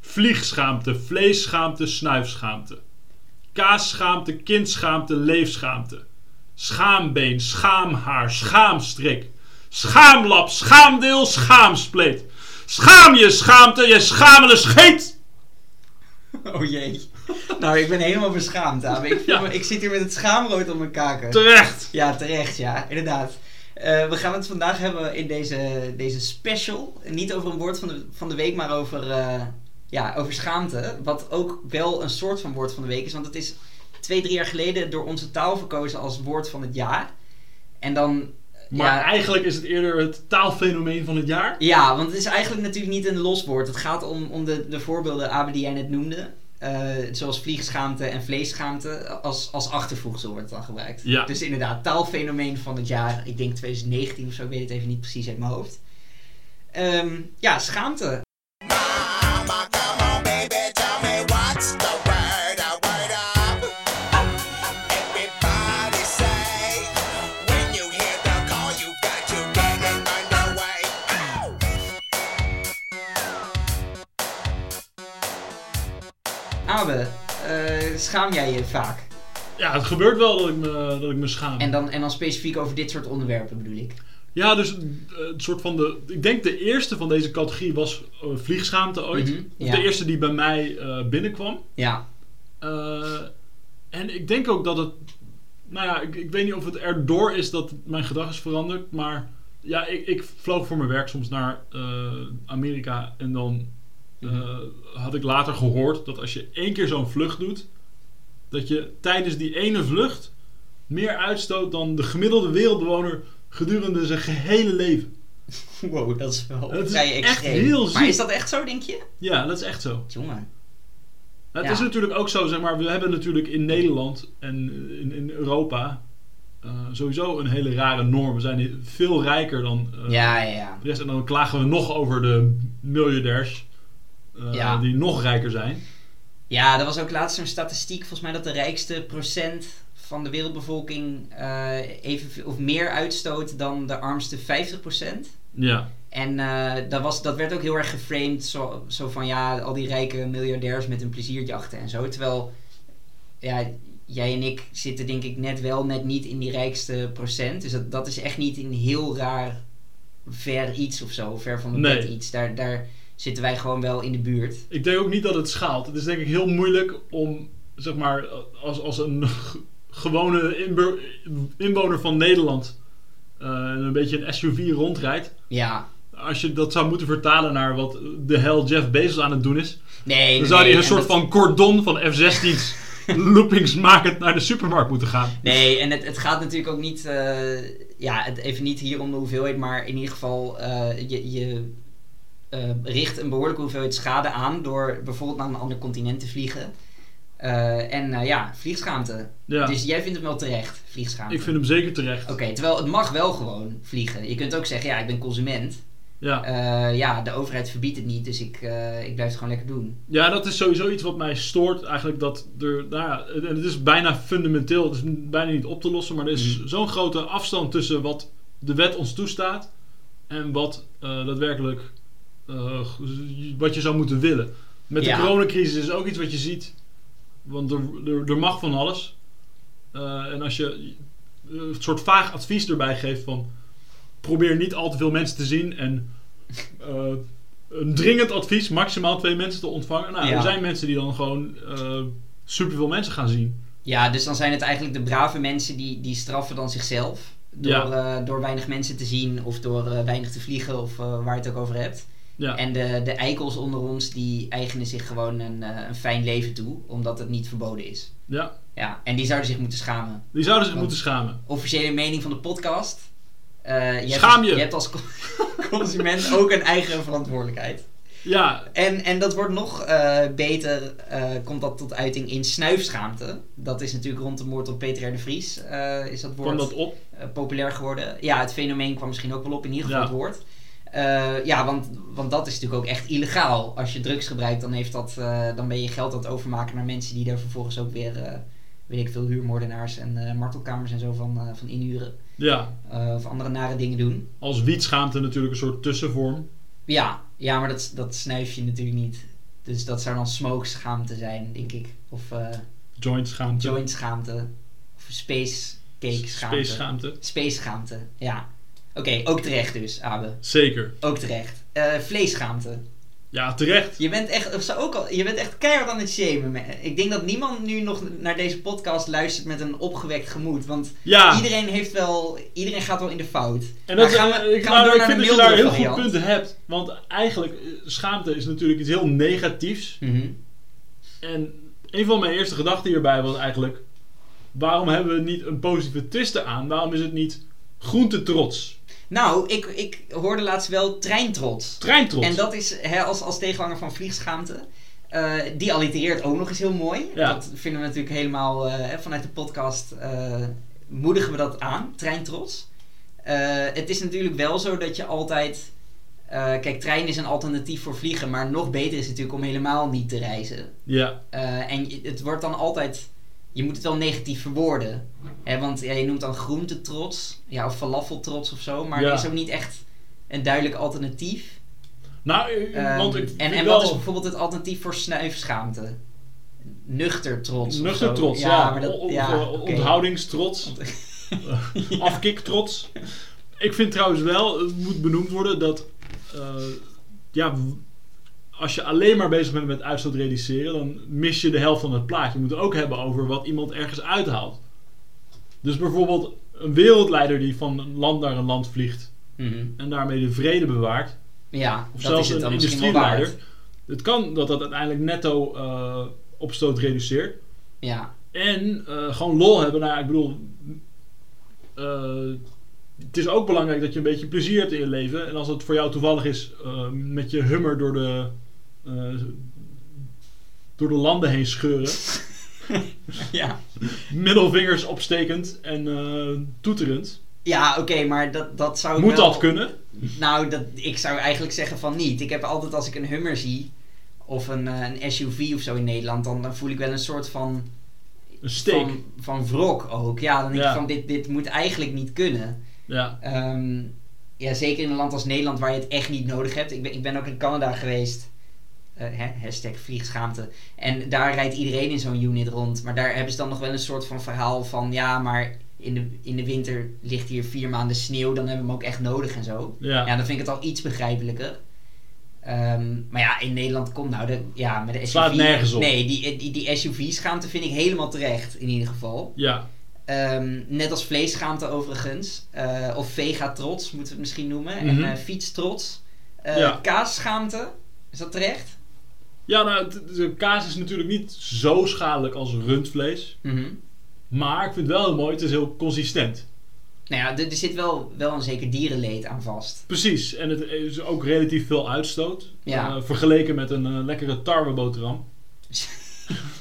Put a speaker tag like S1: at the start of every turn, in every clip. S1: Vliegschaamte, vleesschaamte, snuifschaamte. Kaasschaamte, kindschaamte, leefschaamte. Schaambeen, schaamhaar, schaamstrik. Schaamlap, schaamdeel, schaamspleet. Schaam je schaamte, je schamele scheet!
S2: Oh jee. Nou, ik ben helemaal beschaamd, Dave. Ik, voel
S1: Ja.
S2: me- ik zit hier met het schaamrood op mijn kaken.
S1: Terecht!
S2: Ja, terecht, ja, inderdaad. Eh, we gaan het vandaag hebben in deze, deze special. Niet over een woord van de, van de week, maar over, eh, ja, over schaamte. Wat ook wel een soort van woord van de week is. Want het is twee, drie jaar geleden door onze taal verkozen als woord van het jaar. En dan. eh,
S1: Maar
S2: ja,
S1: eigenlijk is het eerder het taalfenomeen van het jaar.
S2: ja, want het is eigenlijk natuurlijk niet een los woord. Het gaat om, om de, de voorbeelden, Abe, die jij net noemde. Eh, zoals vliegschaamte en vleesschaamte. Als, als achtervoegsel wordt het dan gebruikt.
S1: Ja.
S2: Dus inderdaad, taalfenomeen van het jaar. Ik denk 2019 of zo, ik weet het even niet precies uit mijn hoofd. Ehm, ja, schaamte.
S3: Mama, come on, baby, tell me what's the word, a word up. Everybody say, when you hear the call, you got to get it underway. Ow!
S2: Abe, eh, schaam jij je vaak?
S1: Ja, het gebeurt wel dat ik me, dat ik me schaam.
S2: En dan, en dan specifiek over dit soort onderwerpen bedoel ik.
S1: Ja, dus eh, het soort van de. Ik denk de eerste van deze categorie was eh, vliegschaamte ooit.
S2: Mhm,
S1: Of
S2: ja.
S1: de eerste die bij mij eh, binnenkwam.
S2: Ja,
S1: Eh, en ik denk ook dat het. Nou ja, ik, ik weet niet of het erdoor is dat mijn gedrag is veranderd. Maar ja, ik, ik vloog voor mijn werk soms naar eh, Amerika. En dan eh, had ik later gehoord dat als je één keer zo'n vlucht doet. dat je tijdens die ene vlucht meer uitstoot dan de gemiddelde wereldbewoner gedurende zijn gehele leven.
S2: wow, dat is wel
S1: Het is
S2: vrij
S1: echt
S2: extreem.
S1: heel
S2: maar
S1: ziek. Eh.
S2: is dat echt zo, denk je?
S1: Ja, dat is echt zo.
S2: Jongen.
S1: Het
S2: Ja.
S1: is natuurlijk ook zo, zeg maar, we hebben natuurlijk in Nederland en eh, in, in Europa eh, sowieso een hele rare norm. We zijn veel rijker dan eh,
S2: Ja, ja, ja.
S1: de rest. En dan klagen we nog over de miljardairs eh,
S2: Ja.
S1: die nog rijker zijn.
S2: Ja, er was ook laatst zo'n statistiek, volgens mij dat de rijkste procent van de wereldbevolking eh even, of meer uitstoot dan de armste 50%.
S1: Ja,
S2: En eh, dat, was, dat werd ook heel erg geframed, zo, zo van ja, al die rijke miljardairs met hun plezierjachten en zo. Terwijl ja, jij en ik zitten denk ik net wel, net niet in die rijkste procent. Dus dat, dat is echt niet een heel raar ver iets of zo, ver van de
S1: Nee.
S2: bed iets. Daar, daar zitten wij gewoon wel in de buurt.
S1: ik denk ook niet dat het schaalt. Het is denk ik heel moeilijk om, zeg maar, als, als een gewone inbo- inwoner van Nederland eh, een beetje een SUV rondrijdt.
S2: Ja.
S1: Als je dat zou moeten vertalen naar wat de hel Jeff Bezos aan het doen is.
S2: Nee,
S1: Dan zou
S2: nee,
S1: hij een
S2: en
S1: soort
S2: dat-
S1: van cordon van F-16's loopings makend naar de supermarkt moeten gaan.
S2: Nee, en het, het gaat natuurlijk ook niet, eh, ja, het, even niet hier om de hoeveelheid, maar in ieder geval, eh, je, je eh, richt een behoorlijke hoeveelheid schade aan door bijvoorbeeld naar een ander continent te vliegen. Eh, en eh, ja, vliegschaamte.
S1: Ja,
S2: Dus jij vindt hem wel terecht, vliegschaamte.
S1: ik vind hem zeker terecht.
S2: Oké, terwijl het mag wel gewoon vliegen. Je kunt ook zeggen, ja, ik ben consument.
S1: Ja.
S2: Eh, ja, de overheid verbiedt het niet, dus ik, eh, ik blijf het gewoon lekker doen.
S1: ja, dat is sowieso iets wat mij stoort. Eigenlijk dat er, nou ja, het- en het is bijna fundamenteel, het is bijna niet op te lossen, maar er is
S2: Mm.
S1: zo'n grote afstand tussen wat de wet ons toestaat en wat eh, daadwerkelijk eh, wat je zou moeten willen. Met
S2: Ja.
S1: de coronacrisis is ook iets wat je ziet, want er, er, er mag van alles. Eh, en als je eh, een soort vaag advies erbij geeft van probeer niet al te veel mensen te zien en eh, een dringend advies maximaal twee mensen te ontvangen. Nou,
S2: Ja.
S1: er zijn mensen die dan gewoon eh superveel mensen gaan zien.
S2: Ja, dus dan zijn het eigenlijk de brave mensen die, die straffen dan zichzelf. Door, eh, door weinig mensen te zien of door eh, weinig te vliegen of eh, waar je het ook over hebt.
S1: Ja.
S2: En de, de eikels onder ons die eigenen zich gewoon een, eh, een fijn leven toe, omdat het niet verboden is.
S1: ja.
S2: Ja, en die zouden zich moeten schamen.
S1: Die zouden zich
S2: Want-
S1: moeten schamen.
S2: Officiële mening van de podcast. eh, je
S1: Schaam
S2: hebt,
S1: je.
S2: Je hebt als con- consument ook een eigen verantwoordelijkheid.
S1: Ja,
S2: En, en dat wordt nog eh, beter, eh, komt dat tot uiting in snuifschaamte. Dat is natuurlijk rond de moord op Peter R. de Vries, eh, is dat woord
S1: kwam dat op?
S2: eh, populair geworden. Ja, het fenomeen kwam misschien ook wel op, in ieder geval
S1: Ja.
S2: het woord. Eh, ja, want, want dat is natuurlijk ook echt illegaal. Als je drugs gebruikt, dan, heeft dat, eh, dan ben je geld aan het overmaken naar mensen die daar vervolgens ook weer, eh, weet ik veel, huurmoordenaars en eh, martelkamers en zo van, eh, van inhuren.
S1: Ja,
S2: Eh, of andere nare dingen doen.
S1: als wietschaamte natuurlijk een soort tussenvorm.
S2: Ja, ja maar dat, dat snuif je natuurlijk niet. Dus dat zou dan smoke schaamte zijn, denk ik. Of eh,
S1: Joint schaamte.
S2: joint schaamte. Of space cake schaamte.
S1: Space schaamte.
S2: Space schaamte, ja. Oké, ook terecht dus, Abe.
S1: Zeker.
S2: Ook terecht. Eh vleesschaamte.
S1: Ja, terecht.
S2: Je bent echt, of zo ook al, je bent echt keihard aan het shamen. me- Ik denk dat niemand nu nog naar deze podcast luistert met een opgewekt gemoed. Want
S1: Ja,
S2: iedereen heeft wel, iedereen gaat wel in de fout.
S1: en
S2: Maar
S1: dat,
S2: gaan we,
S1: eh, ik,
S2: gaan
S1: nou,
S2: we door
S1: ik
S2: naar
S1: vind
S2: de
S1: dat je daar
S2: mildere
S1: heel goed
S2: variant?
S1: punten hebt. Want eigenlijk, eh, schaamte is natuurlijk iets heel negatiefs.
S2: Mhm.
S1: En een van mijn eerste gedachten hierbij was eigenlijk... Waarom hebben we niet een positieve twist aan? Waarom is het niet groentetrots?
S2: Nou, ik, ik hoorde laatst wel treintrots.
S1: Treintrots?
S2: En dat is hè, als, als tegenhanger van vliegschaamte. eh, die allitereert ook nog eens heel mooi.
S1: Ja.
S2: Dat vinden we natuurlijk helemaal eh, hè, vanuit de podcast. eh, moedigen we dat aan, treintrots. Eh, het is natuurlijk wel zo dat je altijd. eh, kijk, trein is een alternatief voor vliegen. Maar nog beter is natuurlijk om helemaal niet te reizen.
S1: Ja,
S2: Eh, en je- het wordt dan altijd. Je moet het wel negatief verwoorden. Hè? Want ja, je noemt dan groentetrots. Ja, of falafeltrots of zo. Maar
S1: Ja.
S2: er is ook niet echt een duidelijk alternatief.
S1: nou, eh,
S2: Ehm,
S1: want ik
S2: en en
S1: vind
S2: wat is
S1: wel-
S2: bijvoorbeeld het alternatief voor snuifschaamte? Nuchter trots.
S1: Nuchter trots, ja.
S2: maar dat-
S1: O- o-
S2: ja,
S1: o-
S2: oké.
S1: Onthoudingstrots. Eh, Afkiktrots. Ik vind trouwens wel, het moet benoemd worden dat. eh, ja, w- als je alleen maar bezig bent met uitstoot reduceren, dan mis je de helft van het plaatje. Je moet het ook hebben over wat iemand ergens uithaalt. Dus bijvoorbeeld een wereldleider die van een land naar een land vliegt
S2: Mhm.
S1: en daarmee de vrede bewaart.
S2: Ja,
S1: Of
S2: dat is
S1: zelfs
S2: het dan
S1: een
S2: misschien wel waard.
S1: industrieleider. Het kan dat dat uiteindelijk netto eh, opstoot reduceert.
S2: Ja.
S1: En eh, gewoon lol hebben. Nou ja, ik bedoel... eh, het is ook belangrijk dat je een beetje plezier hebt in je leven. En als het voor jou toevallig is eh, met je hummer door de, eh, door de landen heen scheuren.
S2: ja.
S1: middelvingers opstekend en eh, toeterend.
S2: Ja, oké, maar dat, dat zou ik
S1: Moet
S2: wel-
S1: dat kunnen?
S2: Nou, dat, ik zou eigenlijk zeggen van niet. Ik heb altijd als ik een Hummer zie of een, eh, een SUV of zo in Nederland, dan, dan voel ik wel een soort van,
S1: Een steek.
S2: van, van wrok ook. Ja, dan denk
S1: Ja.
S2: ik van dit, dit moet eigenlijk niet kunnen.
S1: Ja.
S2: Ehm, ja, zeker in een land als Nederland waar je het echt niet nodig hebt. Ik ben, ik ben ook in Canada geweest. Eh, hè, hashtag vliegschaamte. En daar rijdt iedereen in zo'n unit rond. Maar daar hebben ze dan nog wel een soort van verhaal van... Ja, maar in de, in de winter ligt hier vier maanden sneeuw. Dan hebben we hem ook echt nodig en zo.
S1: Ja.
S2: Ja, dan vind ik het al iets begrijpelijker. Ehm, maar ja, in Nederland komt nou de, ja, met de SUV.
S1: Slaat nergens op.
S2: Nee, die, die, die SUV-schaamte vind ik helemaal terecht, in ieder geval.
S1: ja.
S2: Ehm, net als vleesschaamte overigens. Eh, of vega-trots moeten we het misschien noemen.
S1: Mhm.
S2: En eh fietstrots. Eh
S1: Ja.
S2: Kaasschaamte, is dat terecht?
S1: Ja, nou, het- de kaas is natuurlijk niet zo schadelijk als rundvlees.
S2: Mhm.
S1: Maar ik vind het wel heel mooi. Het is heel consistent.
S2: Nou ja, er, er zit wel, wel een zeker dierenleed aan vast.
S1: Precies, en het is ook relatief veel uitstoot.
S2: Ja.
S1: Eh, vergeleken met een eh, lekkere tarweboterham.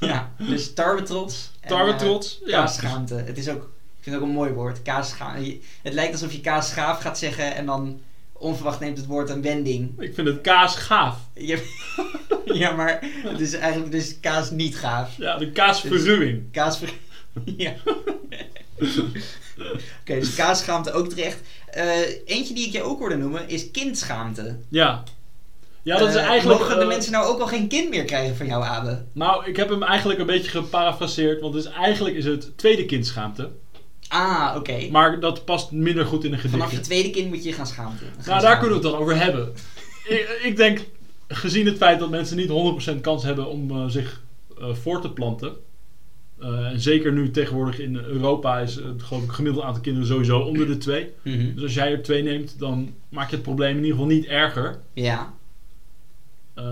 S2: ja, dus tarwetrots. en, eh,
S1: Tarwetrots, ja.
S2: Kaasschaamte. Het is ook, ik vind het ook een mooi woord. Kaasschaamte. Je- Het lijkt alsof je kaasschaaf gaat zeggen en dan onverwacht neemt het woord een wending.
S1: Ik vind het kaas gaaf.
S2: Je- ja, maar het is eigenlijk dus kaas niet gaaf.
S1: Ja, de kaasverruwing.
S2: Kaas ver- Ja. Oké, dus kaasschaamte ook terecht. Eh, eentje die ik je ook hoorde noemen is kindschaamte.
S1: Ja. Ja, dat is
S2: Eh,
S1: eigenlijk...
S2: Mogen de
S1: eh,
S2: mensen nou ook al geen kind meer krijgen van jou, Abe?
S1: Nou, ik heb hem eigenlijk een beetje geparafraseerd. Want het is, eigenlijk is het tweede kind schaamte.
S2: Ah, oké.
S1: Maar dat past minder goed in een
S2: Vanaf je
S1: gedichtje.
S2: tweede kind moet je je gaan schaamten. Gaan
S1: Nou, daar
S2: schamen.
S1: kunnen we het dan over hebben. ik, ik denk, gezien het feit dat mensen niet 100% kans hebben om eh, zich eh, voor te planten. eh, en zeker nu tegenwoordig in Europa is het geloof ik gemiddeld aantal kinderen sowieso onder de twee.
S2: Mhm.
S1: Dus als jij er twee neemt, dan maak je het probleem in ieder geval niet erger.
S2: Ja.
S1: Eh,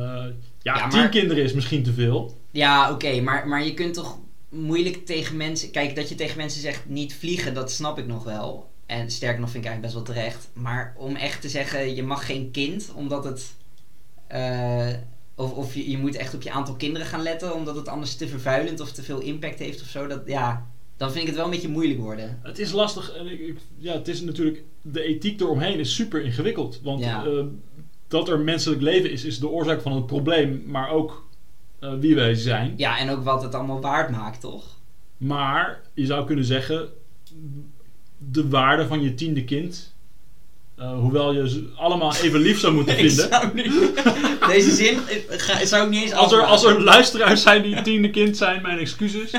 S1: ja,
S2: Ja,
S1: tien
S2: maar-
S1: kinderen is misschien te veel.
S2: Ja, oké, maar, maar je kunt toch moeilijk tegen mensen. Kijk, dat je tegen mensen zegt niet vliegen, dat snap ik nog wel. En sterker nog, vind ik eigenlijk best wel terecht. Maar om echt te zeggen, je mag geen kind, omdat het. eh, of of je, je moet echt op je aantal kinderen gaan letten, omdat het anders te vervuilend of te veel impact heeft of zo. Dat, ja, dan vind ik het wel een beetje moeilijk worden.
S1: Het is lastig. En ik, ik- ja, het is natuurlijk, de ethiek eromheen is super ingewikkeld. Want
S2: Ja.
S1: eh, dat er menselijk leven is, is de oorzaak van het probleem. Maar ook eh, wie wij zijn.
S2: Ja, en ook wat het allemaal waard maakt, toch?
S1: Maar je zou kunnen zeggen, de waarde van je tiende kind eh, eh, hoewel je ze allemaal even lief zou moeten
S2: Ik
S1: vinden.
S2: zou nu... Deze zin ik ga, zou ik niet eens
S1: Als er,
S2: afmaken.
S1: als er luisteraars zijn die tiende kind zijn, mijn excuses.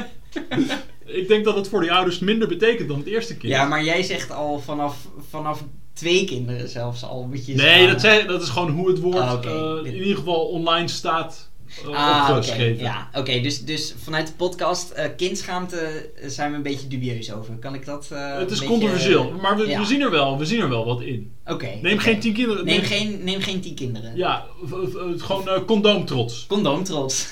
S1: Ik denk dat het voor die ouders minder betekent dan het eerste kind.
S2: Ja, maar jij zegt al vanaf, vanaf twee kinderen zelfs al moet je...
S1: nee,
S2: ze-
S1: dat, zei, dat is gewoon hoe het woord
S2: Ah, oké.
S1: eh,
S2: Dit-
S1: in ieder geval online staat eh,
S2: Ah, oké.
S1: opgeschreven.
S2: Ja, oké. Dus, dus vanuit de podcast eh, kindschaamte eh, zijn we een beetje dubieus over. Kan ik dat...
S1: het
S2: eh,
S1: is
S2: een beetje-
S1: controversieel, maar we,
S2: ja.
S1: we zien er wel, we zien er wel wat in.
S2: Oké.
S1: Neem
S2: oké.
S1: geen tien kinderen.
S2: Neem geen, neem geen tien kinderen.
S1: Ja, v- v- gewoon eh, condoomtrots.
S2: Condoomtrots.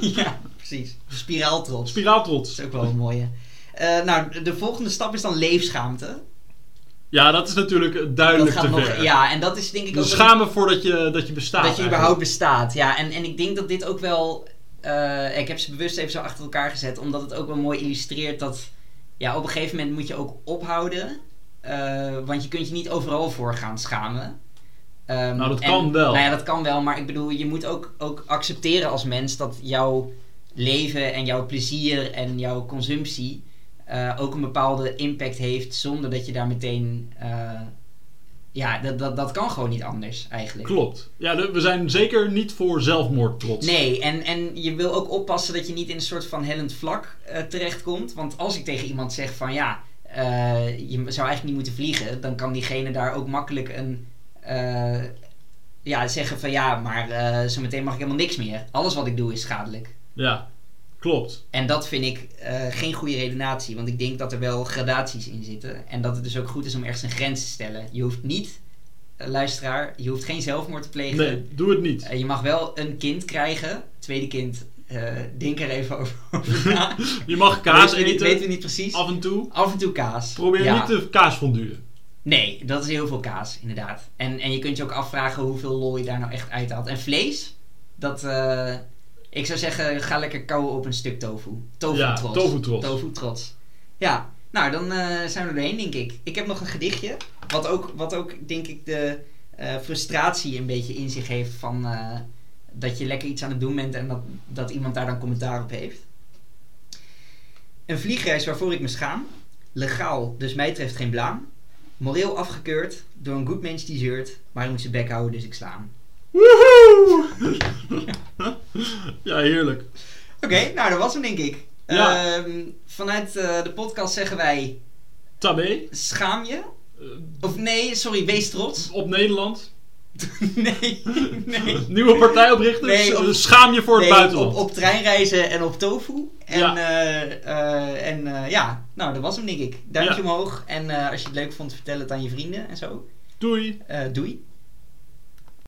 S2: ja, precies. Spiraaltrots.
S1: Spiraaltrots.
S2: dat is ook wel een mooie. Eh, nou, de volgende stap is dan leefschaamte.
S1: Ja, dat is natuurlijk eh, duidelijk
S2: dat
S1: te
S2: gaat nog,
S1: ver.
S2: Ja, en dat is denk ik
S1: Dus
S2: ook... wel-
S1: schamen voordat je, dat je bestaat.
S2: dat je
S1: eigenlijk.
S2: überhaupt bestaat. Ja, en, en ik denk dat dit ook wel. eh, ik heb ze bewust even zo achter elkaar gezet, omdat het ook wel mooi illustreert dat. Ja, op een gegeven moment moet je ook ophouden. eh, want je kunt je niet overal voor gaan schamen. Ehm,
S1: Nou, dat
S2: en-
S1: kan wel.
S2: Nou ja, dat kan wel, maar ik bedoel, je moet ook, ook accepteren als mens dat jouw leven en jouw plezier en jouw consumptie eh, ook een bepaalde impact heeft zonder dat je daar meteen. eh, ja, dat, dat, dat kan gewoon niet anders eigenlijk.
S1: Klopt. Ja, de- we zijn zeker niet voor zelfmoord trots.
S2: Nee, en, en je wil ook oppassen dat je niet in een soort van hellend vlak eh, terechtkomt. Want als ik tegen iemand zeg van ja, eh, je zou eigenlijk niet moeten vliegen, dan kan diegene daar ook makkelijk een. eh, ja, zeggen van ja, maar eh zometeen mag ik helemaal niks meer. Alles wat ik doe is schadelijk.
S1: Ja, klopt.
S2: En dat vind ik eh, geen goede redenatie, want ik denk dat er wel gradaties in zitten. En dat het dus ook goed is om ergens een grens te stellen. Je hoeft niet, eh, luisteraar, je hoeft geen zelfmoord te plegen.
S1: Nee, doe het niet.
S2: Eh, je mag wel een kind krijgen. Tweede kind, eh, denk er even over na.
S1: Je mag kaas
S2: weten we niet,
S1: eten
S2: weten we niet precies. Af,
S1: af en toe.
S2: en toe kaas.
S1: Probeer
S2: Ja.
S1: niet te kaas fonduren.
S2: Nee, dat is heel veel kaas, inderdaad. En, en je kunt je ook afvragen hoeveel lol je daar nou echt uit haalt. En vlees, dat... eh, ik zou zeggen, ga lekker kauwen op een stuk tofu. Tofu
S1: Ja,
S2: trots.
S1: tofutrots.
S2: Tofu trots. Ja, nou dan eh, zijn we er doorheen, denk ik. Ik heb nog een gedichtje. Wat ook, wat ook denk ik, de eh, frustratie een beetje in zich heeft van... eh, dat je lekker iets aan het doen bent en dat, dat iemand daar dan commentaar op heeft. Een vliegreis waarvoor ik me schaam. Legaal, dus mij treft geen blaam. Moreel afgekeurd door een goed mens die zeurt. Maar hij moet zijn bek houden, dus ik sla hem.
S1: Woehoe! ja, heerlijk.
S2: Oké, nou dat was hem denk ik.
S1: Ja.
S2: Ehm, vanuit eh, de podcast zeggen wij...
S1: Tabé.
S2: Schaam je?
S1: eh,
S2: Of nee, sorry, wees trots.
S1: op Nederland.
S2: nee, nee.
S1: Nieuwe partij oprichten.
S2: Nee,
S1: S-
S2: op-
S1: Schaam je voor het
S2: Nee,
S1: buitenland.
S2: Op, op treinreizen en op tofu. En,
S1: Ja.
S2: ja. en eh, ja, nou dat was hem denk ik. Duimpje
S1: Ja.
S2: omhoog. En eh, als je het leuk vond, vertel het aan je vrienden en zo.
S1: Doei.
S2: Eh, doei.